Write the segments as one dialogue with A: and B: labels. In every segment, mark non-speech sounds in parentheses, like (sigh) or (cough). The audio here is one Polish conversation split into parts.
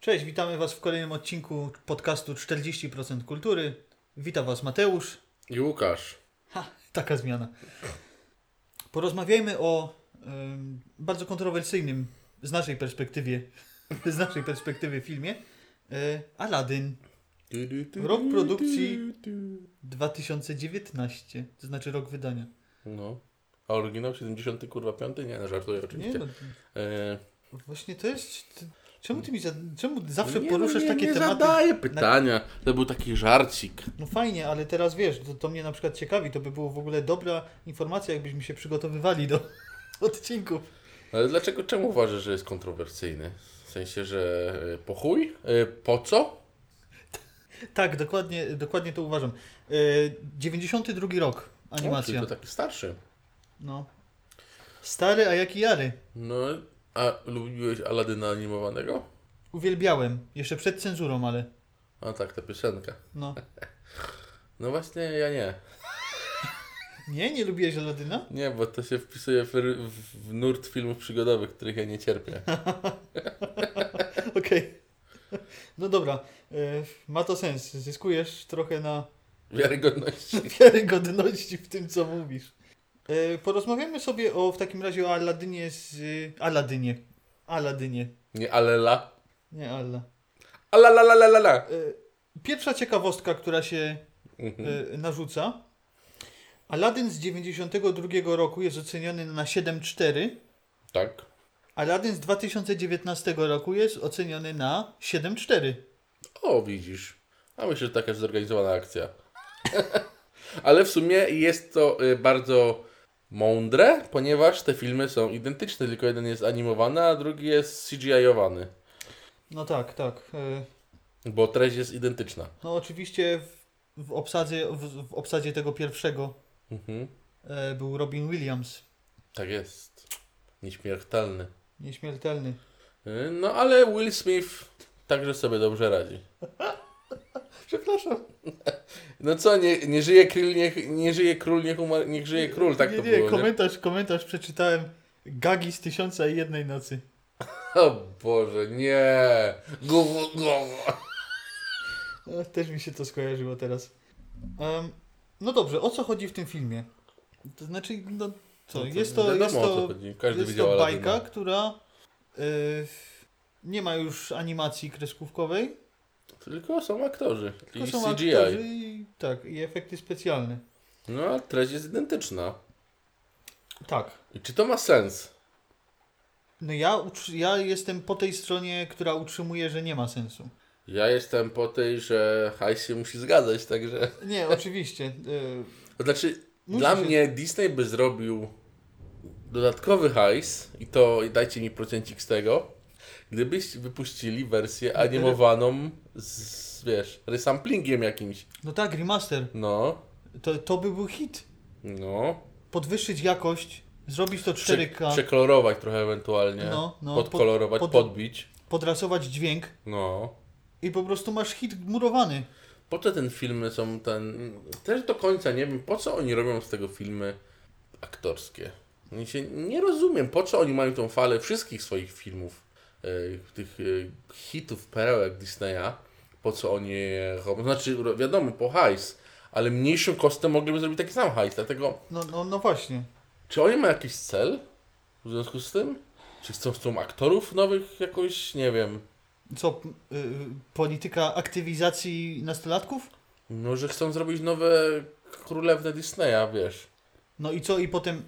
A: Cześć, witamy Was w kolejnym odcinku podcastu 40% Kultury. Witam Was Mateusz.
B: I Łukasz.
A: Ha, taka zmiana. Porozmawiajmy o ym, bardzo kontrowersyjnym z naszej perspektywy, (laughs) z naszej perspektywy filmie y, Aladdin
B: Du, du, du,
A: Rok
B: du,
A: produkcji.
B: du, du.
A: 2019, to znaczy rok wydania.
B: No. A oryginał 70 kurwa 5? Nie, no żartuję
A: Nie,
B: oczywiście.
A: no,
B: E,
A: właśnie to jest... Ty, czemu ty mi za, czemu zawsze
B: No nie,
A: poruszasz
B: nie,
A: takie
B: nie
A: tematy?
B: zadaję pytania. To był taki żarcik.
A: No fajnie, ale teraz wiesz, to, to mnie na przykład ciekawi, to by było w ogóle dobra informacja, jakbyśmy się przygotowywali do (laughs) odcinków.
B: Ale dlaczego, czemu uważasz, że jest kontrowersyjny? W sensie, że e, po chuj? E, po co?
A: Tak, dokładnie, dokładnie to uważam. E, 92 rok,
B: O, czyli
A: animacja.
B: to tak. taki starszy.
A: No. Stary, a jaki jary.
B: No, a lubiłeś Aladyna animowanego?
A: Uwielbiałem, jeszcze przed cenzurą, ale
B: A tak, ta piosenka.
A: no.
B: No właśnie, ja nie.
A: Nie, nie lubiłeś Aladyna? (laughs)
B: Nie, bo to się wpisuje w, w, w nurt filmów przygodowych, których ja nie
A: (laughs)
B: cierpię.
A: Okej. No dobra, e, ma to sens. Zyskujesz trochę na
B: Wiarygodności.
A: wiarygodności w tym, co mówisz. E, Porozmawiamy sobie o w takim razie o Aladynie z. y, Aladynie. Aladynie.
B: Nie, ale la.
A: Nie Alla.
B: Ala la la la la la.
A: E, Pierwsza ciekawostka, która się
B: Mhm.
A: e, narzuca. Aladdin z 92 roku jest oceniony na 7,4.
B: Tak.
A: Aladdin z 2019 roku jest oceniony na 7,4.
B: O, widzisz. A myślę, że taka zorganizowana akcja. (laughs) Ale w sumie jest to y, bardzo mądre, ponieważ te filmy są identyczne, tylko jeden jest animowany, a drugi jest CGI-owany.
A: No tak, tak. E,
B: Bo treść jest identyczna.
A: No oczywiście w, w, obsadzie, w, w obsadzie tego pierwszego
B: Mhm.
A: e, był Robin Williams.
B: Tak jest. Nieśmiertelny.
A: Nieśmiertelny.
B: Y, No ale Will Smith także sobie dobrze radzi.
A: Przepraszam.
B: No co, nie, nie żyje król, niech, nie żyje król, niech, umarł, niech żyje król, tak
A: nie,
B: to
A: nie,
B: było, nie?
A: komentarz, komentarz przeczytałem. Gagi z tysiąca i jednej nocy.
B: O Boże, nie! Gu, gu, gu.
A: E, Też mi się to skojarzyło teraz. Em, no dobrze, o co chodzi w tym filmie? To znaczy, no co, jest to,
B: wiadomo,
A: jest
B: o co
A: to,
B: chodzi. Każdy
A: jest
B: widział
A: to
B: Aladyna.
A: bajka, która e, nie ma już animacji kreskówkowej,
B: Tylko są aktorzy.
A: tylko
B: I
A: są
B: CGI.
A: aktorzy i, tak, i efekty specjalne.
B: No a treść jest identyczna.
A: Tak.
B: I czy to ma sens?
A: No ja, utrz- ja jestem po tej stronie, która utrzymuje, że nie ma sensu.
B: Ja jestem po tej, że hajs się musi zgadzać, także...
A: Nie, oczywiście. e,
B: To znaczy,
A: Musi
B: dla
A: się-
B: mnie Disney by zrobił dodatkowy hajs i to i dajcie mi procencik z tego, gdybyście wypuścili wersję animowaną z, wiesz, resamplingiem jakimś.
A: no tak, remaster.
B: No,
A: To, to by był hit.
B: no.
A: Podwyższyć jakość, zrobić to
B: Prze-
A: 4K.
B: Przekolorować trochę ewentualnie.
A: No, no,
B: podkolorować,
A: pod- pod-
B: podbić.
A: podrasować dźwięk
B: No.
A: i po prostu masz hit murowany.
B: Po co ten filmy są ten. Też do końca nie wiem, po co oni robią z tego filmy aktorskie. Ja się nie rozumiem, po co oni mają tą falę wszystkich swoich filmów, e, tych e, hitów, perełek Disneya, po co oni je robią. Znaczy, ro- wiadomo, po hajs, ale mniejszym kosztem mogliby zrobić taki sam hajs. Dlatego,
A: No, no, no właśnie.
B: czy oni mają jakiś cel w związku z tym? Czy chcą, chcą aktorów nowych jakoś, nie wiem.
A: Co, y, y, polityka aktywizacji nastolatków?
B: No, że chcą zrobić nowe królewne Disneya, wiesz.
A: No i co, i potem,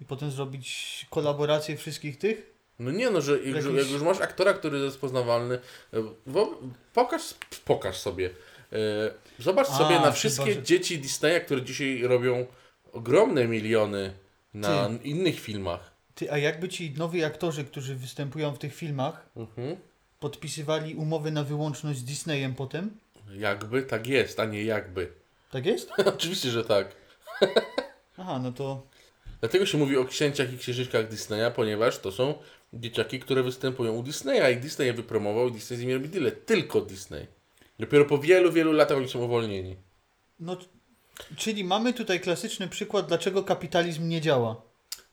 A: i potem zrobić kolaborację wszystkich tych?
B: No nie no, że jak,
A: Jakiś-
B: że jak już masz aktora, który jest poznawalny, e, wo, pokaż, pokaż sobie. E, zobacz
A: A,
B: sobie na
A: chyba,
B: wszystkie
A: że-
B: dzieci Disneya, które dzisiaj robią ogromne miliony na innych filmach.
A: Ty, a jakby ci nowi aktorzy, którzy występują w tych filmach,
B: Mhm.
A: podpisywali umowy na wyłączność z Disneyem potem?
B: Jakby tak jest, a nie jakby. (laughs)
A: Tak jest?
B: Oczywiście, że tak.
A: Aha, no to
B: Dlatego się mówi o księciach i księżyczkach Disneya, ponieważ to są dzieciaki, które występują u Disneya i Disney je wypromował i Disney z nimi robi deal. Tylko Disney. Dopiero po wielu, wielu latach oni są uwolnieni.
A: no, t- czyli mamy tutaj klasyczny przykład, dlaczego kapitalizm nie działa.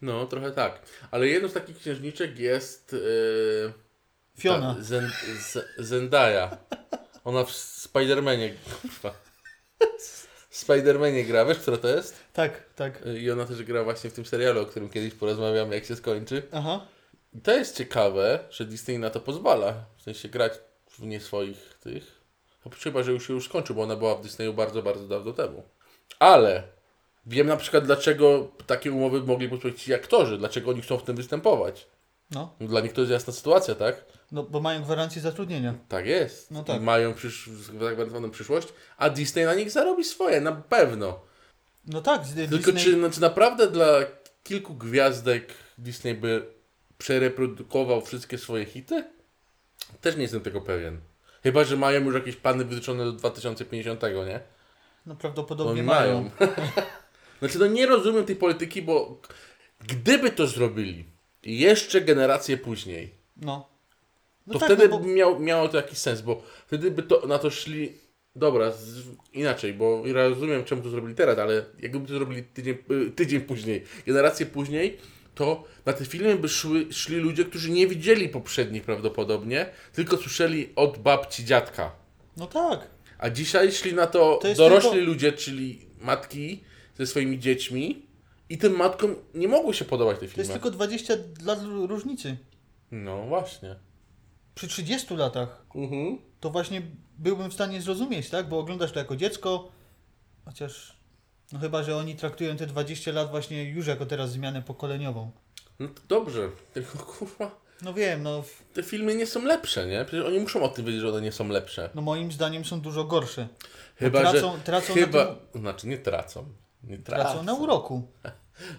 B: No, trochę tak. Ale jedną z takich księżniczek jest yy,
A: Fiona.
B: Ta, Zen, Z, Zendaya. Ona w Spidermanie. kurwa. W Spidermanie gra, wiesz, która to jest?
A: Tak, tak.
B: I ona też gra właśnie w tym serialu, o którym kiedyś porozmawiamy, jak się skończy.
A: Aha.
B: I to jest ciekawe, że Disney na to pozwala. W sensie grać w nie swoich tych. Chyba, że już się już skończył, bo ona była w Disneyu bardzo, bardzo dawno temu. Ale wiem na przykład, dlaczego takie umowy mogli podpisać ci aktorzy, dlaczego oni chcą w tym występować.
A: No,
B: Dla nich to jest jasna sytuacja, tak?
A: no bo mają gwarancję zatrudnienia.
B: Tak jest.
A: No tak.
B: I Mają przysz- zagwarantowaną przyszłość, a Disney na nich zarobi swoje, na pewno.
A: No tak, z-
B: Tylko
A: Disney-
B: czy, no, czy naprawdę dla kilku gwiazdek Disney by przereprodukował wszystkie swoje hity? Też nie jestem tego pewien. Chyba, że mają już jakieś plany wytyczone do 2050, nie?
A: No
B: Bo
A: prawdopodobnie
B: Oni
A: mają.
B: mają. (laughs) znaczy, no nie rozumiem tej polityki, bo gdyby to zrobili jeszcze generację później,
A: No. No
B: to
A: tak,
B: wtedy
A: no bo-
B: miał, miało to jakiś sens, bo wtedy by to, na to szli. Dobra, z, inaczej, bo ja rozumiem, czemu to zrobili teraz, ale jakby to zrobili tydzień, y, tydzień później, generację później, to na te filmy by szły, szli ludzie, którzy nie widzieli poprzednich prawdopodobnie, tylko słyszeli od babci dziadka.
A: No tak.
B: A dzisiaj szli na to,
A: To jest
B: dorośli
A: tylko-
B: ludzie, czyli matki ze swoimi dziećmi, i tym matkom nie mogły się podobać te
A: To jest
B: filmy.
A: tylko 20 lat r- różnicy.
B: No właśnie.
A: Przy 30 latach
B: Mhm.
A: to właśnie byłbym w stanie zrozumieć, tak? Bo oglądasz to jako dziecko, chociaż no chyba, że oni traktują te 20 lat właśnie już jako teraz zmianę pokoleniową.
B: No to dobrze, tylko kurwa.
A: No wiem, no, w-
B: te filmy nie są lepsze, nie? Przecież oni muszą o tym wiedzieć, że one nie są lepsze.
A: no moim zdaniem są dużo gorsze.
B: Chyba,
A: tracą-
B: że...
A: tracą na
B: chyba... Znaczy, nie tracą. Nie tracą.
A: Tracą na uroku.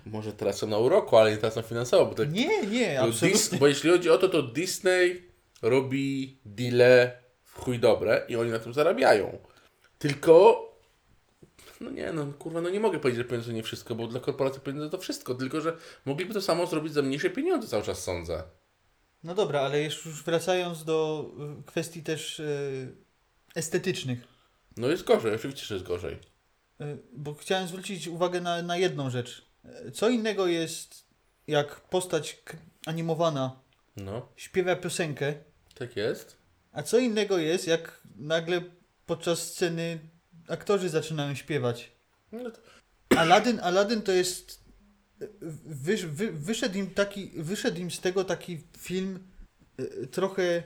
B: Może tracą na uroku, ale nie tracą finansowo, bo tak...
A: Nie, nie,
B: bo, Dis...
A: absolutnie.
B: bo jeśli chodzi o to, to Disney robi deale w chuj dobre i oni na tym zarabiają. Tylko... No nie, no kurwa, no nie mogę powiedzieć, że pieniądze to nie wszystko, bo dla korporacji pieniądze to wszystko, tylko że mogliby to samo zrobić za mniejsze pieniądze, cały czas sądzę.
A: No dobra, ale jeszcze już wracając do y, kwestii też y, estetycznych.
B: No jest gorzej, oczywiście, że jest gorzej.
A: Y, Bo chciałem zwrócić uwagę na, na jedną rzecz. Y, Co innego jest, jak postać k- animowana
B: No,
A: śpiewa piosenkę,
B: tak jest.
A: a co innego jest, jak nagle podczas sceny aktorzy zaczynają śpiewać.
B: No to...
A: Aladdin, Aladdin to jest. Wysz, wy, wyszedł, im taki, wyszedł im z tego taki film y, trochę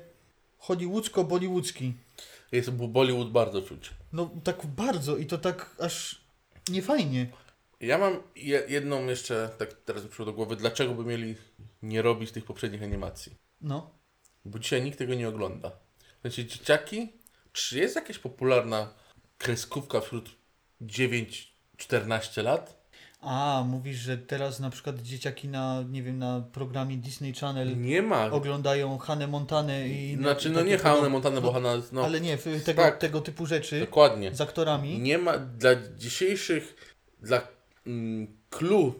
A: hollywoodzko-bollywoodzki.
B: Jest Bollywood bardzo czuć.
A: No tak bardzo i to tak aż niefajnie.
B: Ja mam je, jedną jeszcze, tak teraz mi przyszło do głowy, dlaczego by mieli nie robić tych poprzednich animacji?
A: No.
B: Bo dzisiaj nikt tego nie ogląda. Znaczy, dzieciaki, czy jest jakaś popularna kreskówka wśród 9-14 lat?
A: A, mówisz, że teraz na przykład dzieciaki na, nie wiem, na programie Disney Channel
B: Nie ma.
A: oglądają Hannę Montanę i...
B: Mm. Znaczy,
A: i
B: no
A: takie
B: nie
A: tego-
B: Hannah Montana, bo Hannah, no
A: Ale nie, f- tego,
B: Tak.
A: tego typu rzeczy
B: dokładnie.
A: z aktorami.
B: Nie ma dla dzisiejszych, dla mm, clue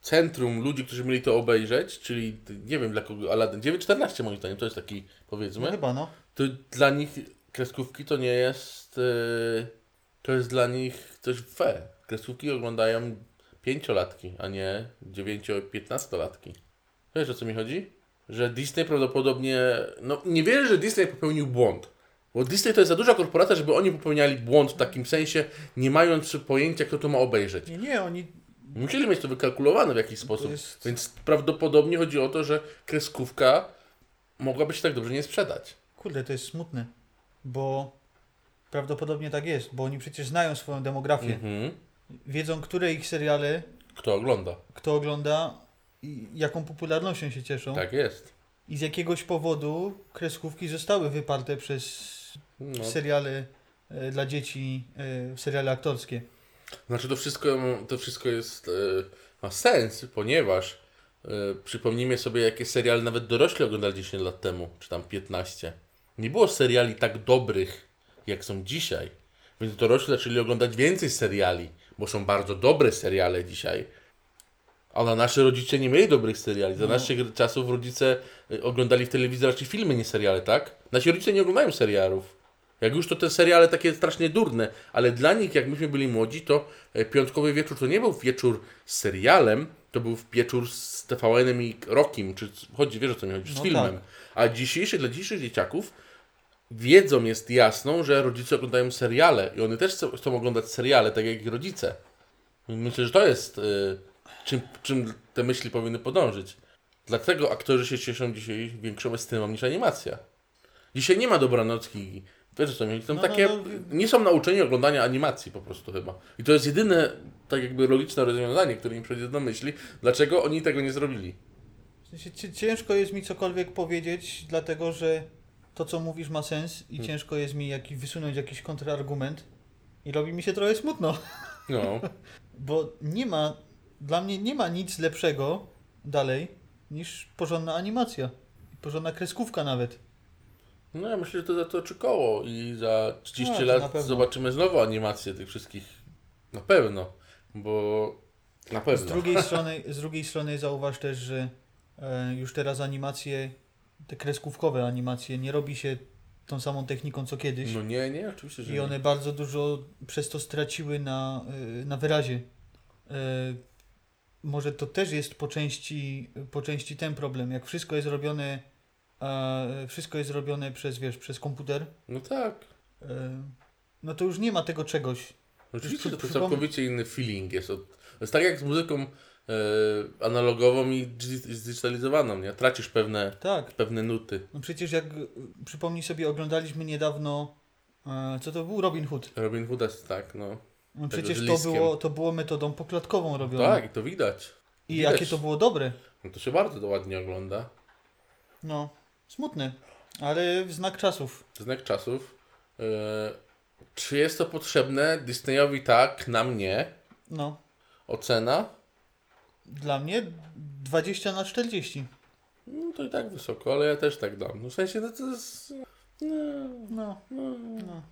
B: centrum ludzi, którzy mieli to obejrzeć, czyli nie wiem dla kogo, Aladdin 9-14 moim zdaniem, to jest taki
A: No
B: powiedzmy,
A: chyba, no.
B: to dla nich kreskówki to nie jest, yy, to jest dla nich coś fe. Kreskówki oglądają pięciolatki, a nie 9-15-latki. Wiesz o co mi chodzi? Że Disney prawdopodobnie, no nie wierzę, że Disney popełnił błąd. Bo Disney to jest za duża korporacja, żeby oni popełniali błąd w takim sensie, nie mając pojęcia, kto to ma obejrzeć.
A: Nie, nie, oni...
B: Musieli mieć to wykalkulowane w jakiś sposób.
A: jest-
B: Więc prawdopodobnie chodzi o to, że kreskówka mogłaby się tak dobrze nie sprzedać.
A: Kurde, to jest smutne, bo prawdopodobnie tak jest, bo oni przecież znają swoją demografię.
B: Mhm.
A: Wiedzą, które ich seriale,
B: Kto ogląda?
A: kto ogląda i jaką popularnością się cieszą.
B: Tak jest.
A: I z jakiegoś powodu kreskówki zostały wyparte przez
B: No.
A: seriale e, dla dzieci, e, seriale aktorskie.
B: Znaczy to wszystko, to wszystko jest, e, ma sens, ponieważ e, przypomnijmy sobie, jakie seriale nawet dorośli oglądali 10 lat temu, czy tam 15. Nie było seriali tak dobrych, jak są dzisiaj. Więc dorośli zaczęli oglądać więcej seriali, bo są bardzo dobre seriale dzisiaj. A na nasze rodzice nie mieli dobrych seriali.
A: No.
B: Za naszych czasów rodzice y, oglądali w telewizji raczej filmy, nie seriale, tak? Nasi rodzice nie oglądają serialów. Jak już to te seriale takie strasznie durne, ale dla nich, jak myśmy byli młodzi, to e, piątkowy wieczór to nie był wieczór z serialem, to był w wieczór z TVN-em i Rokim, czy c- chodzi, wiesz o co mi chodzi, z
A: No
B: filmem.
A: tak.
B: A dzisiejszy, dla dzisiejszych dzieciaków wiedzą jest jasną, że rodzice oglądają seriale i one też chcą, chcą oglądać seriale, tak jak ich rodzice. Myślę, że to jest, y, czym, czym te myśli powinny podążyć. Dlatego aktorzy się cieszą dzisiaj większą estymą niż animacja. Dzisiaj nie ma dobranocki. Wiesz co, mi- tam
A: No, no,
B: takie,
A: no.
B: nie są nauczeni oglądania animacji po prostu chyba. I to jest jedyne, tak jakby logiczne rozwiązanie, które im przyjdzie do myśli, dlaczego oni tego nie zrobili.
A: W sensie ci- ciężko jest mi cokolwiek powiedzieć, dlatego że to, co mówisz, ma sens i
B: Hmm.
A: ciężko jest mi jaki, wysunąć jakiś kontrargument. I robi mi się trochę smutno, (laughs)
B: No,
A: bo nie ma, dla mnie nie ma nic lepszego dalej niż porządna animacja. I Porządna kreskówka nawet.
B: no ja myślę, że to zatoczy koło i za 30
A: No, to na
B: lat
A: pewno.
B: zobaczymy znowu animację tych wszystkich. Na pewno, bo na
A: Z
B: pewno.
A: drugiej strony, z drugiej strony zauważ też, że e, już teraz animacje, te kreskówkowe animacje, nie robi się tą samą techniką co kiedyś.
B: No nie, nie, oczywiście, że
A: I one
B: nie.
A: bardzo dużo przez to straciły na, y, na wyrazie. Y, Może to też jest po części, po części ten problem. Jak wszystko jest robione, a, y, wszystko jest robione przez, wiesz, przez komputer,
B: No tak.
A: y, no to już nie ma tego czegoś.
B: Oczywiście
A: Przy-
B: to
A: przypom-
B: całkowicie inny feeling jest. od- To jest tak jak z muzyką e, analogową i dzi- zdigitalizowaną, nie? Tracisz pewne,
A: Tak.
B: pewne nuty.
A: No przecież jak y, przypomnij sobie, oglądaliśmy niedawno, y, co to był Robin Hood.
B: Robin Hood jest tak, no.
A: No
B: Tego
A: przecież
B: z
A: to
B: liskiem.
A: było, to było metodą poklatkową robione.
B: Tak, i to widać.
A: No. I
B: widać.
A: jakie to było dobre.
B: No to się bardzo to ładnie ogląda.
A: No, smutne, ale w znak czasów.
B: Znak czasów. E, czy jest to potrzebne? Disneyowi tak, nam nie.
A: No.
B: Ocena?
A: Dla mnie 20 na 40.
B: No to i tak wysoko, ale ja też tak dam. No w sensie, no to jest... No,
A: No,
B: no,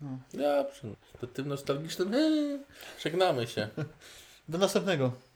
A: no.
B: dobrze. To tym nostalgicznym eee, żegnamy się.
A: Do następnego.